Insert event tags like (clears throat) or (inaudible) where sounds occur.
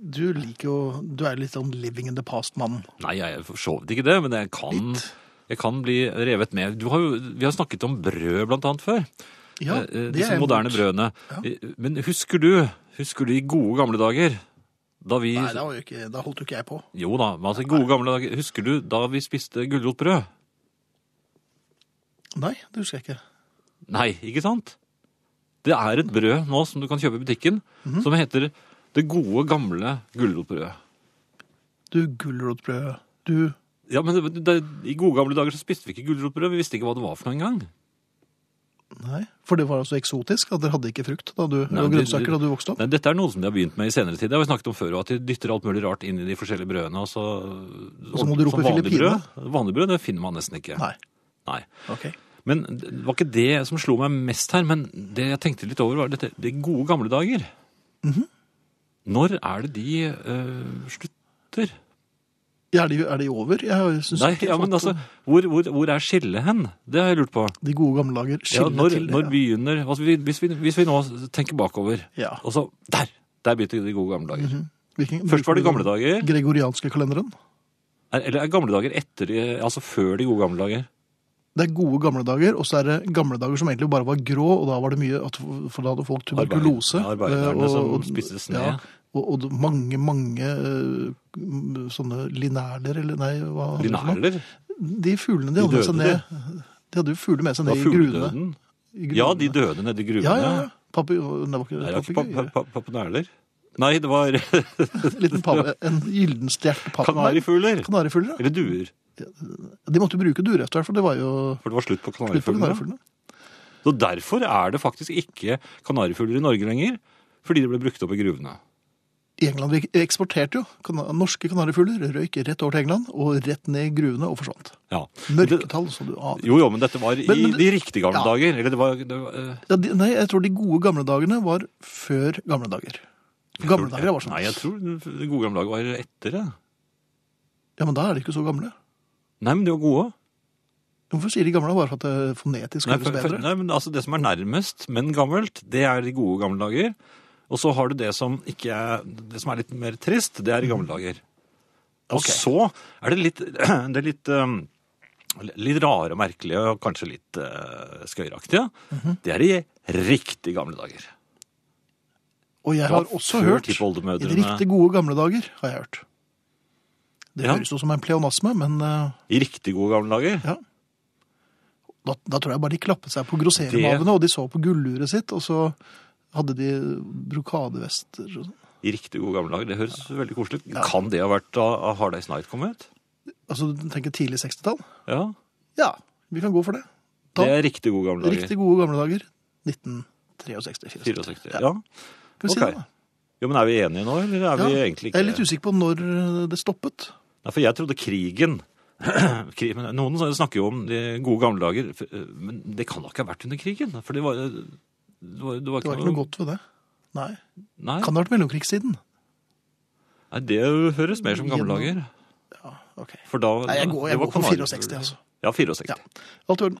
du liker jo Du er litt sånn living in the past-mannen. Nei, jeg er for så vidt ikke det, men jeg kan, Litt. jeg kan bli revet med. Du har jo, vi har snakket om brød blant annet før. Ja, Eh, eh, det Disse er jeg moderne imot. brødene. Eh, Men husker du, husker du i gode gamle dager, da vi... Nei, da, var jo ikke, da holdt jo ikke jeg på. Jo da, men altså i gode gamle dager, husker du da vi spiste gulrotbrød? Nei, det husker jeg ikke. Nei, ikke sant? Det er et brød nå som du kan kjøpe i butikken, Mhm. som heter det gode gamle gulrotbrødet. Du, gulrotbrød Du Ja, men det, det, i gode gamle dager så spiste vi ikke gulrotbrød, vi visste ikke hva det var for noe engang. Nei. For det var altså eksotisk at dere hadde ikke frukt da du, Nei, og det- grønnsaker da du vokste opp? Nei, dette er noe som de har begynt med i senere tid. Det har vi snakket om før, og at de dytter alt mulig rart inn i de forskjellige brødene. Og så, så må du rope som vanlig Filippine. brød- Vanlig brød, det finner man nesten ikke. Nei. Nei. Ok. Men det var ikke det som slo meg mest her, men det jeg tenkte litt over var dette, de gode gamle dager. Mhm. Når er det de eh, slutter? Ja, er, de, er de over? Jeg synes Nei, ikke ja, men fått- altså, hvor, hvor, hvor er skillet hen? Det har jeg lurt på. De gode gamle dager Ja, skiller når, til det. når begynner altså, vi- hvis, vi, hvis vi nå tenker bakover, Ja. og så der! Der begynte de gode gamle dager. Mhm. Hvilken- Først var det bruker gamle du dager. den Gregorianske kalenderen. Er- Eller er gamle dager etter de- Altså før de gode gamle dager? Det er gode gamle dager, og så er det gamle dager som egentlig bare var grå, og da var det mye at, For da hadde folk tuberkulose. Arbeid- arbeiderne eh, som spiste sne. Ja, og, og det- mange, mange eh, m- sånne linerler, eller nei hva heter det for noe? Linerler? De fuglene de De hadde med seg døde, ned De hadde jo fugler med seg Det ned var i gruvene. fugledøden? I gruvene. Ja, de døde nede i gruvene. Ja, ja, ja. Papi, det var ikke, Nei, det var ikke papegøye. pa- pa- pa- papenerler. Nei, det var (laughs) Liten pape, en gyldenstjert pape. kanarifugler. Kanarifugler, ja. Eller duer. De måtte jo bruke durefter, for det var jo For det var slutt på slutt på kanarifuglene. kanarifuglene. Så derfor er det faktisk ikke kanarifugler i Norge lenger, fordi det ble brukt opp i gruvene. I England vi eksporterte jo kana norske kanarifugler, røyk rett over til England og rett ned i gruvene og forsvant. Ja. Det, Mørketall, som du aner. jo, jo, men dette var i Men- men- de riktige gamle Ja. dager. Eller det var, det var eh, Ja, de, nei, jeg tror de gode gamle dagene var før gamle dager. Gamle tror- dager var sånn. Nei, jeg tror de gode gamle dager var etter det. Ja, men da er de ikke så gamle. Nei, men de var gode. Hvorfor sier de gamle bare for at det fonetisk Nei, høres for- for- bedre? nei, men altså Det som er nærmest, men gammelt, det er de gode gamle dager. Og så har du det som, ikke er, det som er litt mer trist, det er i gamle dager. Og Mm. Ok. så er det litt, (clears throat) det er litt, um, litt rare og merkelige, og kanskje litt uh, skøyeraktige. Mhm. Det er i riktig gamle dager. Og jeg har Ja, også før hørt tippoldemødrene- i riktig gode gamle dager, har jeg hørt. Det Ja. høres jo som en pleonasme, men eh, I riktig gode gamle dager. ja. Da, da tror jeg bare de klappet seg på Det- grossermavene, og de så på gulluret sitt, og så hadde de brokadevester og sånn. I riktig gode gamle dager. Det høres veldig koselig ut. Kan det ha vært da A Hard Day's Night kom ut? Altså, du tenker tidlig 60-tall? Ja. Ja, vi kan gå for det. Da, Det er riktig gode gamle dager. riktig gode gamle dager. 1963. 64. Ja. Ja. Skal vi si ok. det, da? Jo, men er vi enige nå, eller er vi egentlig ikke Jeg er litt usikker på når eh, det stoppet. Nei, for jeg trodde krigen (clears throat) Krig- men Noen snakker jo om de gode gamle dager, for- men det kan da ikke ha vært under krigen? For det var, eh, det var, det var Det var ikke noe godt ved det. Nei. Nei, Kan det ha vært mellomkrigssiden? nei, det høres mer som gamle dager. Ok. For da Nei, jeg går, jeg det var går for kanari- 64, altså. Ja, 64. Ja. Alt i orden.